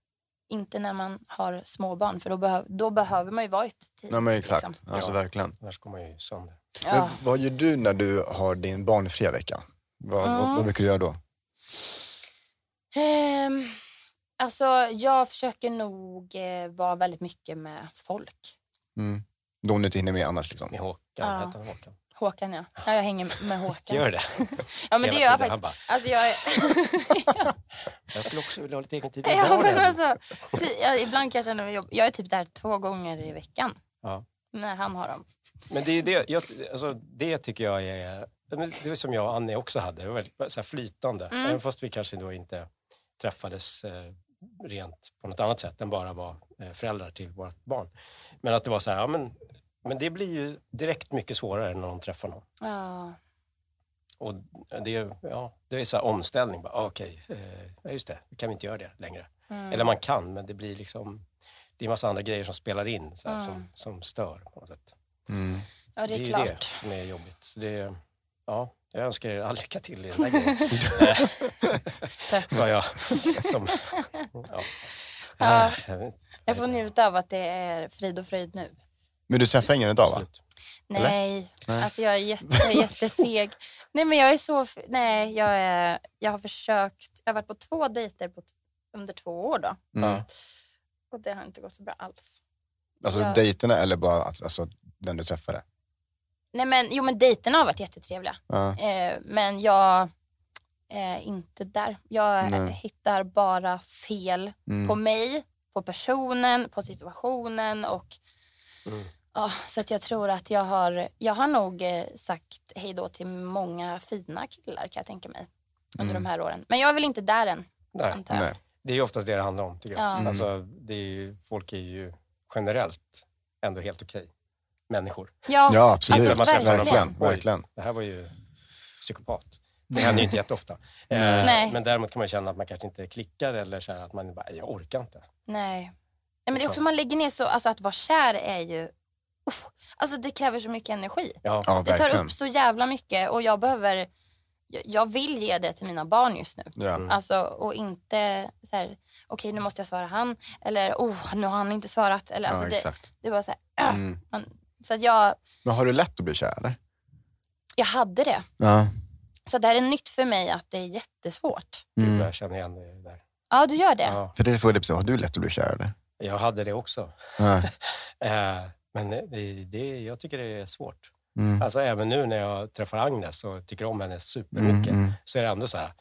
inte när man har småbarn för då, behö- då behöver man ju vara i ett team. Nej, men exakt. liksom. Alltså, Ja. verkligen. Annars går man ju sönder. Ja. Men vad gör du när du har din barnfria vecka? Vad, vad, Mm. vad brukar du göra då? Ehm, alltså jag försöker nog eh, vara väldigt mycket med folk. Mm. Då om du inte hinner med annars liksom. Med Håkan, Ja. heter han Håkan? Håkan ja. ja jag hänger med Håkan. Gör det. ja men hela det gör jag tiden. Han faktiskt. Alltså, jag, Jag skulle också vilja ha lite egen tid i [LAUGHS] ja, men vardagen. alltså, ty, ja, ibland kan jag känna mig jobb. Jag är typ där två gånger i veckan. Ja. När han har dem. Men det är det, jag, alltså, det tycker jag är... men Det är som jag och Annie också hade, det var väldigt så här flytande. Mm. Även fast vi kanske då inte träffades eh, rent på något annat sätt än bara var eh, föräldrar till vårt barn. Men att det var så här, ja, men, men det blir ju direkt mycket svårare när någon träffar någon. Ja. Och det, är- ja, det är så här omställning. Bara, ah, Okej, eh, ja, just det, kan vi inte göra det längre. Mm. Eller man kan, men det blir liksom... Det är en massa andra grejer som spelar in, så här, Mm. som, som stör på något sätt. [LAUGHS] Mm. ja det är ju klart. det som är jobbigt. Så Det, ja, jag önskar er all lycka till i den här grejen, Tack. sa jag. Som, ja. Ja. Jag vet inte. Jag får njuta av att det är frid och fröjd nu. Men du träffar ingen idag va? Absolut. Eller? Nej, Nej. alltså jag är jätte, jag är jättefeg. Nej, men jag är så... f- Nej, jag, är, jag har försökt. Jag har varit på två dejter på, t- under två år då. Mm. Och det har inte gått så bra alls. Alltså Ja. dejterna eller bara att- alltså, den du träffade? Nej, men, jo, men dejterna har varit jättetrevliga. Ja. Eh, men jag är inte där. Jag eh, Nej. hittar bara fel på Mm. mig, på personen, på situationen och Mm. Ja, så att jag tror att jag har, jag har nog eh, sagt hej då till många fina killar kan jag tänka mig under Mm. de här åren. Men jag är väl inte där än, Nej, antar jag. Nej. det är ju oftast det det handlar om, tycker jag. Ja. Mm. Alltså, det är ju, folk är ju generellt ändå helt okej människor. Ja, Ja, absolut. Alltså, verkligen. verkligen. Verkligen. Det här var ju psykopat. Det händer ju inte jätteofta. Eh, Nej. Men däremot kan man känna att man kanske inte klickar eller så här att man bara, jag orkar inte. Nej. Nej men det är Liksom. också man lägger ner så, alltså att vara kär är ju, uff, alltså det kräver så mycket energi. Ja, Ja, Det tar verkligen. upp så jävla mycket och jag behöver, jag- jag vill ge det till mina barn just nu. Ja. Alltså och inte så här, okej nu måste jag svara han eller oh nu har han inte svarat. Eller, alltså, ja, det, exakt. det var så här, Mm. så att jag, Men har du lätt att bli kär eller? Mm. jag hade det. Ja. Så det här är nytt för mig att det är jättesvårt. Gud, Mm. jag känner igen det där. Ja du gör det. Ja, För det frågade jag precis, har du lätt att bli kär eller? jag hade det också. Ja. Eh, Men det, det, jag tycker det är svårt. Mm. Alltså även nu när jag träffar Agnes och tycker om henne Mm, supermycket mm. så är det ändå så här,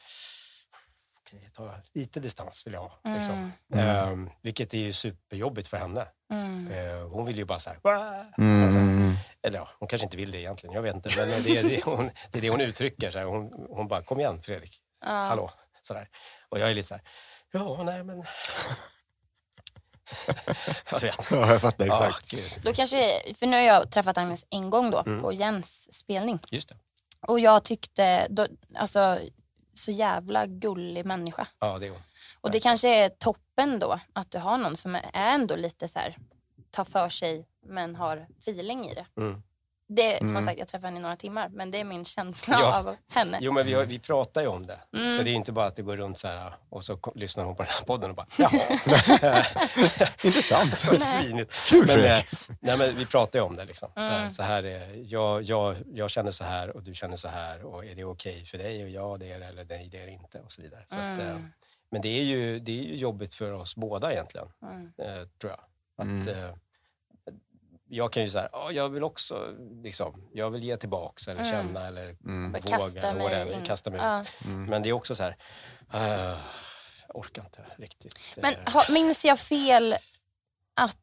okej, ta lite distans vill jag ha. Liksom. Mm, Eh, vilket är ju superjobbigt för henne. mm. Eh, hon vill ju bara så här, "Wah!" Mm. alltså, mm, mm. Eller ja, hon kanske inte vill det egentligen, jag vet inte. Men det är det hon, det, är det hon uttrycker. Så här. Hon, hon bara, kom igen Fredrik, Ja. hallå. Så där. Och jag är lite så här, ja, nej men... [LAUGHS] ja, du vet. Ja, jag fattar Ja, exakt. gud. Då kanske, för nu har jag träffat Agnes en gång då Mm. på Jens spelning. Just det. Och jag tyckte, då, alltså så jävla gullig människa. Ja, det är hon. Och det kanske är toppen då att du har någon som är ändå lite så här, tar för sig men har feeling i det. Mm. Det, Mm. Som sagt, jag träffade henne i några timmar men det är min känsla Ja. av henne. Jo, men vi, har, vi pratar ju om det. Mm. Så det är inte bara att det går runt så här och så kom, lyssnar hon på den här podden och bara, [LAUGHS] jaha, Intressant. [LAUGHS] så svinigt. Kul Men, eh, Fredrik. nej, men vi pratar ju om det. Liksom. Mm. Eh, Så här är, jag, jag, jag känner så här och du känner så här. Och är det okej för dig? Och ja, det är det. Eller nej, det är det inte. Och så vidare. Så att, eh, Mm. men det är, ju, det är ju jobbigt för oss båda egentligen, Mm. eh, tror jag. Att, Mm. eh, jag kan ju säga, ja, jag vill också liksom, jag vill ge tillbaks eller Mm. känna eller Mm. Bara våga. kasta eller mig whatever, in. Kasta mig Ja. Mm. Men eh, det är också så här, eh, jag orkar inte riktigt. eh, Men har, minns jag fel att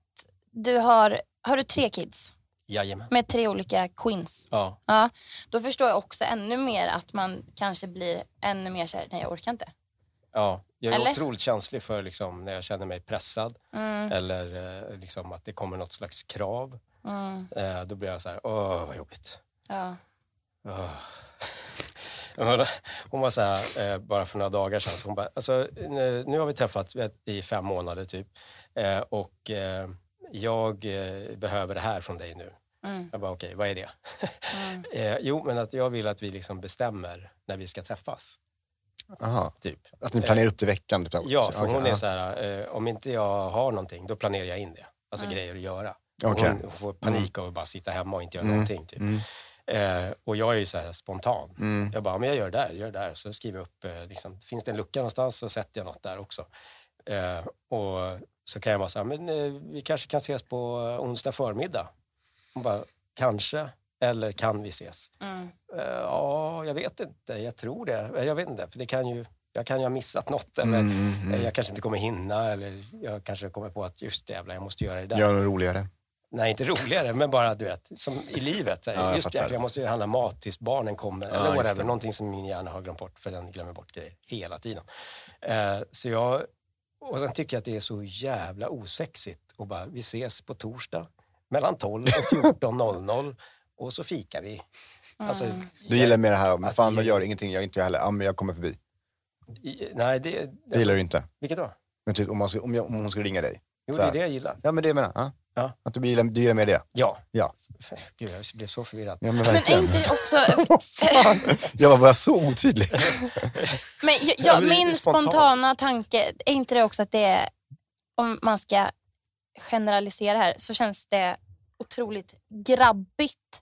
du har, har du tre kids Jajamän. med tre olika queens? Ja, Ja, då förstår jag också ännu mer att man kanske blir ännu mer såhär, nej jag orkar inte. ja. Jag är Eller? otroligt känslig för liksom, när jag känner mig pressad. Mm, Eller eh, liksom att det kommer något slags krav. mm, Eh, då blir jag så här, åh vad jobbigt. ja. Åh. [LAUGHS] Men hon var så här, eh, bara för några dagar sedan, så hon bara, alltså, nu, nu har vi träffats vet, i fem månader typ. Eh, och eh, jag eh, behöver det här från dig nu. Mm, Jag bara, okej, vad är det? mm, Eh, jo, men att jag vill att vi liksom bestämmer när vi ska träffas. Aha. Typ. Att ni planerar upp det i veckan? Typ. Ja, för Okej, hon är ja. så här, eh, om inte jag har någonting, då planerar jag in det. Alltså Mm. grejer att göra. Okej. Hon, hon får panik av att bara sitta hemma och inte göra Mm. någonting. Typ. Mm. Eh, och jag är ju så här spontan. Mm. Jag bara, men jag gör det där, jag gör det där. Så skriver jag upp, eh, liksom, finns det en lucka någonstans så sätter jag något där också. Eh, och så kan jag vara så här, men eh, vi kanske kan ses på eh, onsdag förmiddag. Hon bara, kanske, eller kan vi ses? mm, Eh, ja, jag vet inte, jag tror det. Eh, Jag vet inte, för det kan ju, jag kan ju ha missat något. Eller, Mm, mm, eh, mm. Jag kanske inte kommer hinna eller jag kanske kommer på att just jävlar, jag måste göra det där. Gör något roligare. Nej, inte roligare, men bara du vet, som i livet. Så här, Ja, jag just fattar. jäklar, jag måste ju handla mat tills barnen kommer. Ja, eller just whatever, det. någonting som min hjärna har glömt bort, för den glömmer bort grejer hela tiden. Eh, så jag, och sen tycker jag att det är så jävla osexigt och bara, vi ses på torsdag mellan [LAUGHS] 12 och 14.00 och så fikar vi. Alltså, Mm. Du gillar mer det här, men Alltså, fan jag jag- gör ingenting, jag är inte jag heller. Ja, men jag kommer förbi. i- Nej, det... Det Alltså, gillar du inte. vilket då? Men typ om, man ska, om, jag, om hon skulle ringa dig. Jo, Så det är här. det jag gillar. Ja, men det menar jag. Ja. Ja. Att du gillar, du gillar mer det. Ja. Ja. [LAUGHS] Gud, jag blev så förvirrad. Ja, men Men är verkligen. inte det också... Jag bara, var jag så otydlig? men jag, Ja, men jag, det är min spontant. spontana tanke, är inte det också att det är, om man ska generalisera här, så känns det otroligt grabbigt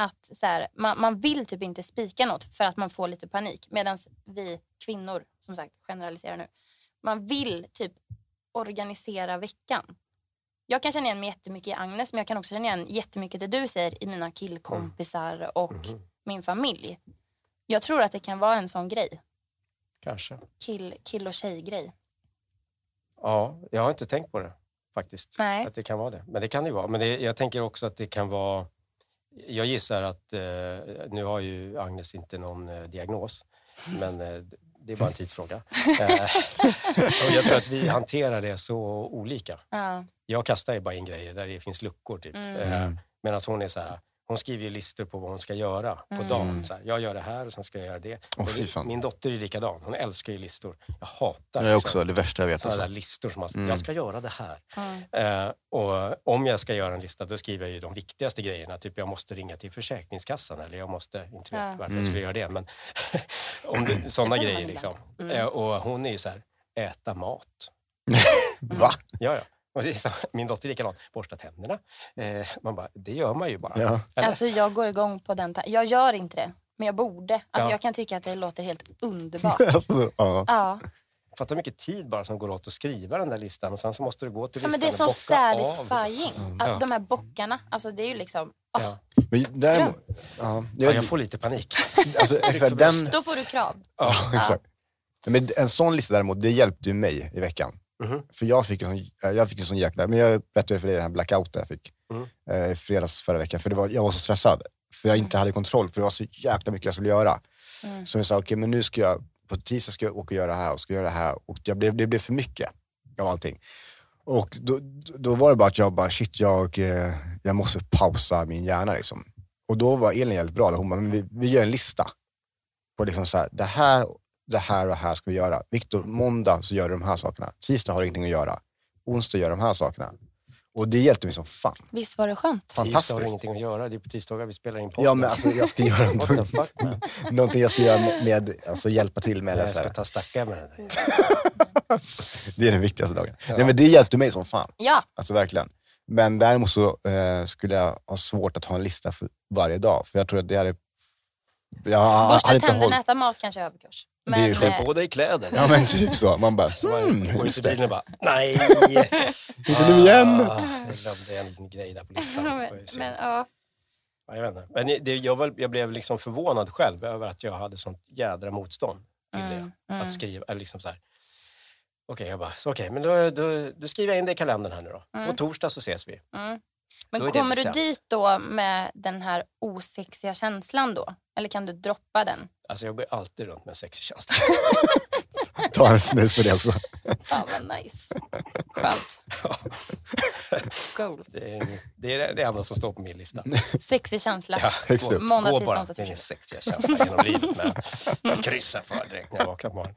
att så här, man, man vill typ inte spika något för att man får lite panik. Medan vi kvinnor, som sagt, generaliserar nu, man vill typ organisera veckan. Jag kan känna igen mig jättemycket i Agnes, men jag kan också känna igen jättemycket det du säger i mina killkompisar och Mhm. min familj. Jag tror att det kan vara en sån grej. Kanske. Kill, kill och tjejgrej. Ja, jag har inte tänkt på det faktiskt. Nej. Att det kan vara det. Men det kan det ju vara. Men det, jag tänker också att det kan vara... Jag gissar att... Eh, nu har ju Agnes inte någon eh, diagnos, men eh, det är bara en [LAUGHS] tidsfråga. Eh, [LAUGHS] och jag tror att vi hanterar det så olika. Ja. Jag kastar ju bara in grejer där det finns luckor. Typ. Mm. Eh, Medan hon är så här... Hon skriver ju listor på vad hon ska göra på dagen. Så här, jag gör det här och sen ska jag göra det. Mm. Åh, Och fy det- fan. Min dotter är ju likadan. Hon älskar ju listor. Jag hatar Det är liksom också det värsta jag vet. sådana där Alltså. listor som man Mm. jag ska göra det här. Mm. Eh, och om jag ska göra en lista, då skriver jag ju de viktigaste grejerna. Typ jag måste ringa till Försäkringskassan eller jag måste, inte vet Ja. varför Mm. jag skulle göra det, men [LAUGHS] om det, [LAUGHS] sådana Det får man grejer ibland. liksom. Mm. Eh, och hon är ju så här, äta mat. Va? Ja, ja. Och det är så, [LAUGHS] min dotter är likadan, borsta tänderna. Eh, man bara, det gör man ju bara. Ja. Eller? Alltså jag går igång på den ta- Jag gör inte det, men jag borde. Alltså Ja. jag kan tycka att det låter helt [LAUGHS] [LAUGHS] underbart. Alltså, ja. Ja. Fattar hur mycket tid bara som går åt att skriva den där listan och sen så måste du gå till ja listan men det är och som bocka av. satisfying. Ja. Att de här bockarna, alltså det är ju liksom... åh, Ja. Men däremot, ja, Ja, jag, jag får [LAUGHS] lite panik. alltså, exakt, den, Då får du krav. Ja. Ja, [LAUGHS] exakt. Men en sån lista däremot, det hjälpte ju mig i veckan. Mhm. För jag fick, en sån, eh, jag fick en sån jäkla... Men jag berättade för dig den här blackouten jag fick Mm. eh, i fredags förra veckan. För det var, jag var så stressad. För jag inte hade kontroll. För det var så jäkla mycket jag skulle göra. Mm. Så jag sa, okej men nu ska jag... På tisdag ska jag åka och göra det här och ska göra det här. Och jag blev, det blev för mycket av allting. Och då, då var det bara att jag bara, shit, jag, eh, jag måste pausa min hjärna liksom. Och då var Elin jävligt bra. där. Hon bara, men vi, vi gör en lista. På liksom så här, det här, det här och det här ska vi göra. Viktor, måndag så gör du de här sakerna. Tisdag har du ingenting att göra. Onsdag gör du de här sakerna. Och det hjälpte mig som fan. Visst var det skönt? Tisdag har Fantastiskt. ingenting att göra. Det är på tisdagar vi spelar in podden. [LAUGHS] Ja, men alltså, jag ska göra What the någonting, [LAUGHS] fuck, man? någonting jag ska göra med, med alltså hjälpa till med. Eller Jag så ska här. ta stackare med [LAUGHS] den där. Alltså, Det är den viktigaste dagen. Ja. Nej, men det hjälpte mig som fan. Ja. Alltså verkligen. Men däremot så eh, skulle jag ha svårt att ha en lista för varje dag. För jag tror att det hade... Jag Ah, hade Borsta inte tänderna, hållit... äta mat kanske är överkurs. är ju skönt. eh, Klä på dig kläder. Ja men typ så. Man bara, Så Mm. man hmm, går ut i just det. bilen och [LAUGHS] bara, nej! Inte nu igen. Ah, Jag glömde en liten grej där på listan. Det var ju men, synd. men, ja. Ja, jag, vet inte. men det, jag, var, jag blev liksom förvånad själv över att jag hade sånt jädra motstånd till det. Mm, mm. Att skriva, eller liksom så här. Okej, jag bara, så okej, men då, då, då skriver jag in det i kalendern här nu då. Mm. På torsdag så ses vi. Mm. Men Då är det kommer du bestämt. dit då med den här osexiga känslan då? Eller kan du droppa den? Alltså jag går alltid runt med en sexig känsla. Ta en snus för det också. Fan vad nice. [LAUGHS] Skönt. Cool. Det är, det är det enda som står på min lista. Sexig känsla. Ja, [LAUGHS] högst gå- upp. Måndag, gå tisdag, bara onsdag, med min torsdag. sexiga känsla genom livet. Men jag kryssar för direkt när jag vaknar på [LAUGHS] morgonen.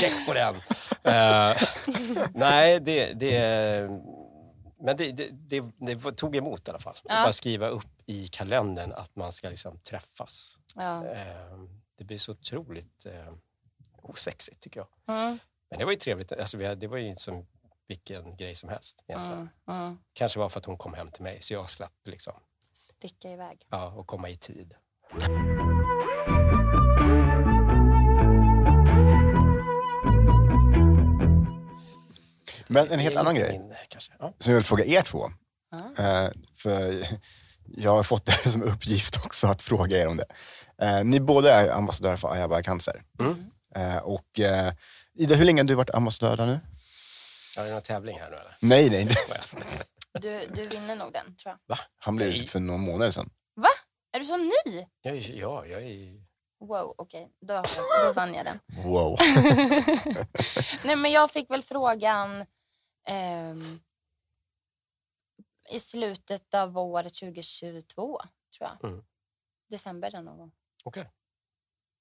Check på den! Eh, nej, det... det men det, det, det, det tog emot i alla fall. Ja. Att bara skriva upp i kalendern att man ska liksom träffas. Ja. Eh, det blir så otroligt eh, osexigt tycker jag. Mm, Men det var ju trevligt. Alltså, vi hade, det var ju inte som vilken grej som helst. egentligen. mm, mm. Kanske var för att hon kom hem till mig så jag slapp liksom, Sticka iväg. ja, och komma i tid. Men en helt Det är annan lite grej Min, kanske. Ja. som jag vill fråga er två. Ja. Eh, för jag har fått det här som uppgift också att fråga er om det. Eh, ni båda är ambassadörer för Ayaba Cancer. Mm. Eh, och eh, Ida, hur länge har du varit ambassadör där nu? Har vi någon tävling här nu eller? Nej, nej. Skojar. Du, du vinner nog den tror jag. Han blev ut för några månader sedan. Är du så ny? Jag är, ja, jag är... Wow, okej. Då, har jag- då vann jag den. Wow. Nej, men jag fick väl frågan ehm, i slutet av året 2022, tror jag. Mm. December eller någon gång. Okej.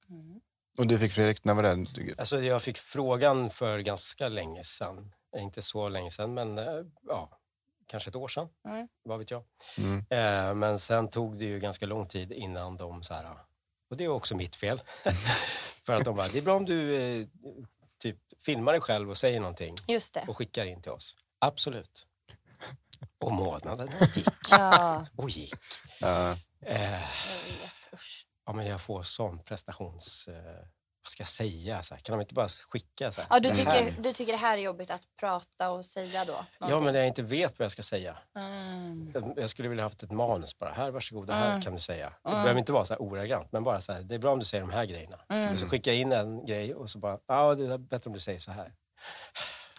Mm. [LAUGHS] Och du fick Fredrik, när var det? Alltså, jag fick frågan för ganska länge sedan. Eh, Inte så länge sedan, men eh, ja, kanske ett år sedan. Mm. Vad vet jag. Mm. Eh, Men sen tog det ju ganska lång tid innan de så här, och det är också mitt fel. För att de bara, det är bra om du eh, typ filmar dig själv och säger någonting Just det. och skickar in till oss. Absolut. Och månaden gick Ja, och gick. Eh, Eh, jag vet. Usch. ja, men jag får sån prestations... Eh, vad ska jag säga? Så här, kan de inte bara skicka? Så här, Ja, du, det tycker, här? du tycker det här är jobbigt att prata och säga då? Ja, men någonting? jag inte vet vad jag ska säga. Mm. Jag- Jag skulle vilja haft ett manus bara. Här, varsågod, det här Mm. kan du säga. Det Mm. behöver inte vara så här ordagrant, men bara så här, det är bra om du säger de här grejerna. Mm. Och så skickar jag in en grej och så bara, ja, det är bättre om du säger så här.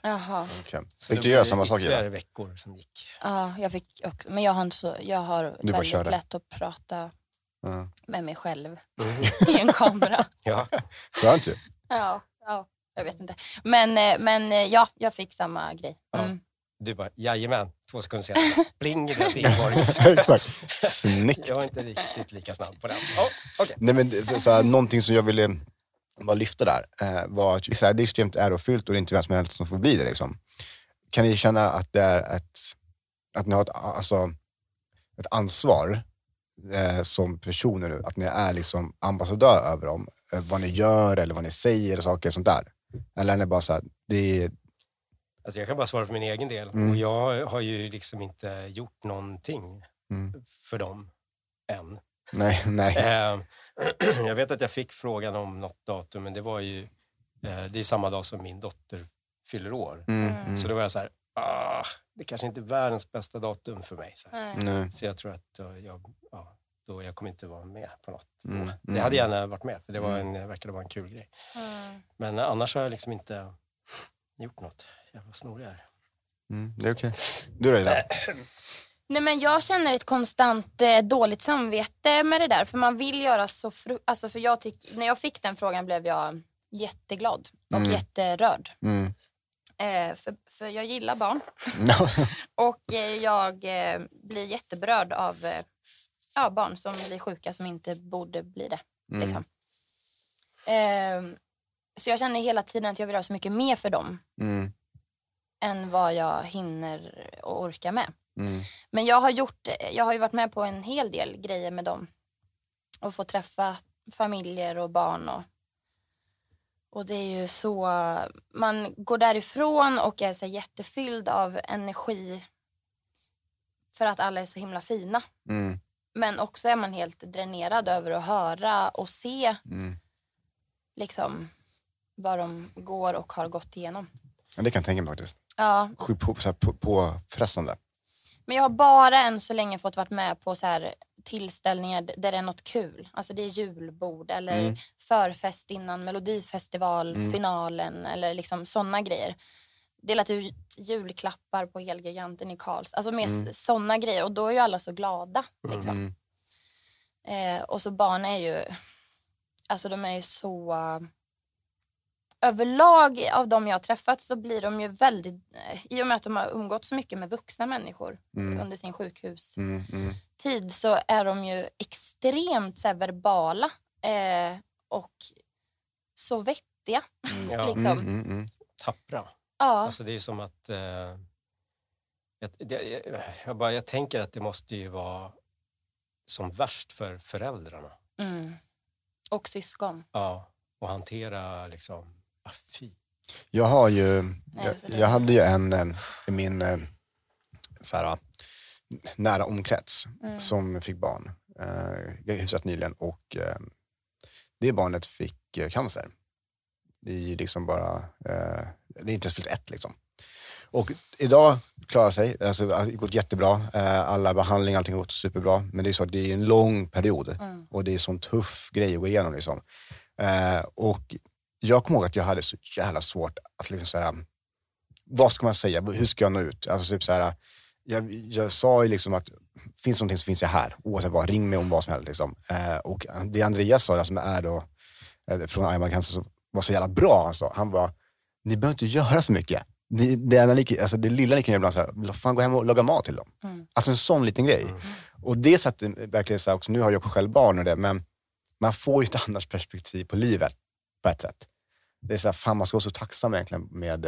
Jaha. okej. Så Fick det du var göra ju samma sak? Ida? Ytterligare veckor som gick. Ja, jag fick också. Men jag har, inte så, jag har bara väldigt körde. lätt att prata Ja. med mig själv Mm. [LAUGHS] i [LAUGHS] en kamera. Ja. Skönt ju. [LAUGHS] Ja, ja jag vet inte. Men, eh, men eh, ja, jag fick samma grej. Ja. Mm. Du bara, jajamän, två sekunder senare, pling i deras inkorg. Exakt. Snyggt. Jag är inte riktigt lika [LAUGHS] snabb på den. Ja, okej. Nej, men, det- så här, någonting som jag ville bara lyfta där eh, var att så här, det är extremt ärofyllt och det är inte vem som helst som får bli det. Liksom. Kan ni känna att det är ett, att ni har ett, alltså, ett ansvar eh, som personer nu? Att ni är liksom ambassadör över dem? Eh, vad ni gör eller vad ni säger och saker och sånt där? Eller är ni bara så här, det är, Alltså jag kan bara svara för min egen del. Mm. Och jag har ju liksom inte gjort någonting Mm. för dem än. nej, [LAUGHS] nej. Eh, [CLEARS THROAT] jag vet att jag fick frågan om något datum, men det var ju eh, det är samma dag som min dotter fyller år. Mm, Mm. mm. Så då var jag så här, ah, det kanske inte är världens bästa datum för mig. Så, här. Nej. Nej. så jag tror att eh, jag, ja, då jag kommer inte vara med på något. då. Mm, Det mm. hade jag gärna varit med, för det var en, verkade vara en kul grej. Mm. Men annars har jag liksom inte gjort något. Jävla snorig jag är. Mm, det är okej. Eh. Du då Ida? Nej, men jag känner ett konstant eh, dåligt samvete med det där. För man vill göra så... Fru- alltså, för jag tyck- när jag fick den frågan blev jag jätteglad och Mm. jätterörd. [LAUGHS] Mm. Eh, för, för jag gillar barn. Och eh, jag eh, blir jätteberörd av eh, ja, barn som blir sjuka som inte borde bli det. Mm. Liksom. Eh, så jag känner hela tiden att jag vill göra så mycket mer för dem Mm. än vad jag hinner och orkar med. Mm. Men jag har, gjort, jag har ju varit med på en hel del grejer med dem. Och få träffa familjer och barn. Och, och det är ju så... Man går därifrån och är så här jättefylld av energi för att alla är så himla fina. Mm. Men också är man helt dränerad över att höra och se Mm. liksom, vad de går och har gått igenom. Ja, det kan jag tänka mig faktiskt. Ja, Sjukt på, så här, på, påfrestande. Men jag har bara än så länge fått varit med på så här tillställningar d- där det är något kul. Alltså det är julbord eller Mm. förfest innan Melodifestivalfinalen Mm. finalen eller liksom sådana grejer. Delat ut julklappar på Helgiganten i Karls. Alltså mer Mm. sådana grejer. Och då är ju alla så glada. Liksom. Mm. Eh, och så barn är ju... Alltså de är ju så... Överlag av de jag har träffat så blir de ju väldigt... Eh, I och med att de har umgåtts så mycket med vuxna människor Mm. under sin sjukhustid Mm. Mm. så är de ju extremt så här, verbala eh, och så vettiga. Ja. Liksom. Mm. Mm. Mm. Tappra. Ja. Alltså det är som att... Eh, jag, det, jag, jag, bara, jag tänker att det måste ju vara som värst för föräldrarna. Mm. Och syskon. Ja, och hantera liksom... Ah, fy. Jag har ju, jag, så det- jag hade ju en eh, i min eh, så här, eh, nära omkrets Mm. som fick barn eh, hyfsat nyligen och eh, det barnet fick eh, cancer. Det är ju liksom bara, eh, det är inte ens fyllt ett liksom. Och idag klarar sig, alltså, det har gått jättebra, eh, alla behandlingar, allting har gått superbra. Men det är så att det är en lång period Mm. och det är en sån tuff grej att gå igenom. Liksom. Eh, och jag kommer ihåg att jag hade så jävla svårt att liksom så här, vad ska man säga, hur ska jag nå ut? Alltså typ så här, jag, jag sa ju liksom att finns det någonting så finns jag här, oavsett vad, ring mig om vad som helst. Liksom. Eh, och det Andreas sa, där, som är då eh, från Ironman Cancer, som var så jävla bra, han sa, han bara, ni behöver inte göra så mycket. Det, det, enda ni, kan- alltså det lilla ni kan göra ibland, så här, fan gå hem och laga mat till dem. Mm. Alltså en sån liten grej. Mm. Och det satte verkligen så här också, nu har jag också själv barn och det, men man får ju ett [LAUGHS] annat perspektiv på livet på ett sätt. Det är så här, fan man ska vara så tacksam egentligen med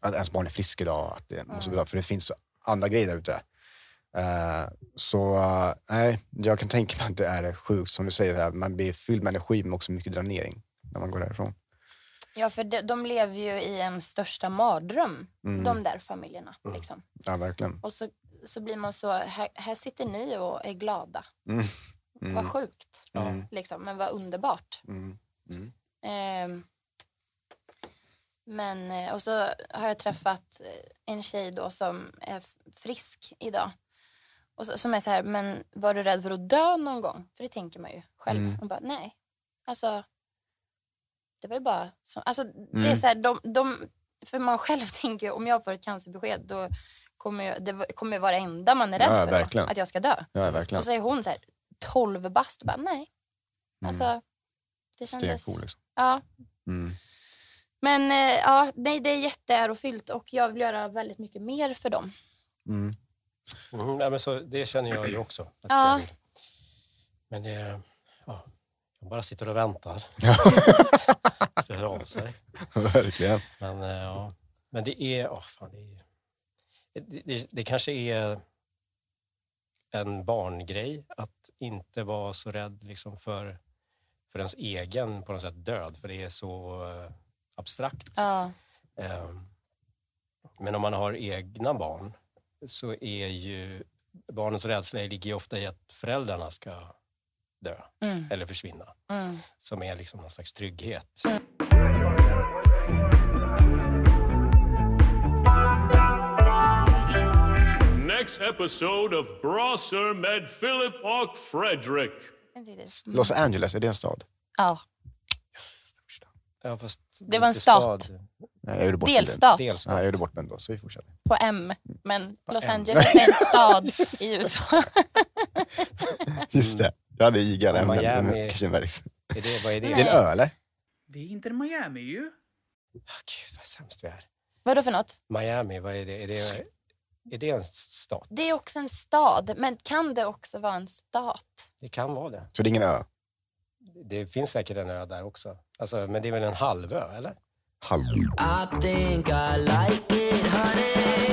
att ens barn är frisk idag, att det mår så Mm. bra, för det finns så andra grejer där ute. Eh, så eh, nej, jag kan tänka mig att det är sjukt, som du säger, så här, man blir fylld med energi men också mycket dränering när man går därifrån. Ja, för de, de lever ju i en största mardröm, Mm. de där familjerna. Mm. Liksom. Ja, verkligen. Och så, så blir man så, här, här sitter ni och är glada. Mm. Mm. Vad sjukt, Ja. Mm. liksom. men vad underbart. Mm. Ehm, men, eh, och så har jag träffat eh, en tjej då som är f- frisk idag. Och så, som är så här, men var du rädd för att dö någon gång? För det tänker man ju själv. Mm. Hon bara, nej. Alltså, det var ju bara... Så, alltså, det Mm. är så här, de, de, för man själv [LAUGHS] tänker ju, om jag får ett cancerbesked då kommer jag, det v- kommer vara det enda man är rädd Ja, för. verkligen. Då, att jag ska dö. Ja, verkligen. Och så är hon så här, 12 bast och bara, nej. Mm. Alltså, det kändes... Stencool liksom. Ja, Mm. Men eh, ja, nej, det är jätteärofyllt och jag vill göra väldigt mycket mer för dem. Mm. Mm, nej, men så, det känner jag ju också. Att Ja. jag vill. Men det, ja, jag bara sitter och väntar. Ja. [LAUGHS] Ska höra av sig. [LAUGHS] Verkligen. Men, eh, ja. men det är... åh, fan, det, är det, det, det kanske är en barngrej att inte vara så rädd liksom för, för ens egen på något sätt död, för det är så eh, abstrakt. Ja. Ehm, Men om man har egna barn så är ju barnens rädsla ligger ju ofta i att föräldrarna ska dö Mm, eller försvinna, mm. som är liksom någon slags trygghet. Next episode of Brosser Med Philip Och Frederick. Los Angeles, är det en stad? Ja, Ja, fast Det var en inte stat. Nej, jag gjorde bort mig den. delstat Delstat. Nej, jag gjorde bort mig då, så vi fortsätter. på M, men Los M. Angeles är en stad i USA. [LAUGHS] Just det. Jag hade IGA där, men, Miami. men kanske inte verkligen. Är det, vad är det? Det är en ö, eller? Det är inte Miami ju. Ah, Gud, vad sämst vi är. Vadå för något? Miami, vad är det? Är det, är det en stat? Det är också en stad, men kan det också vara en stat? Det kan vara det. Så det är ingen ö? Det finns säkert en ö där också. Alltså, men det är väl en halvö, eller? Halv. I think I like it, honey.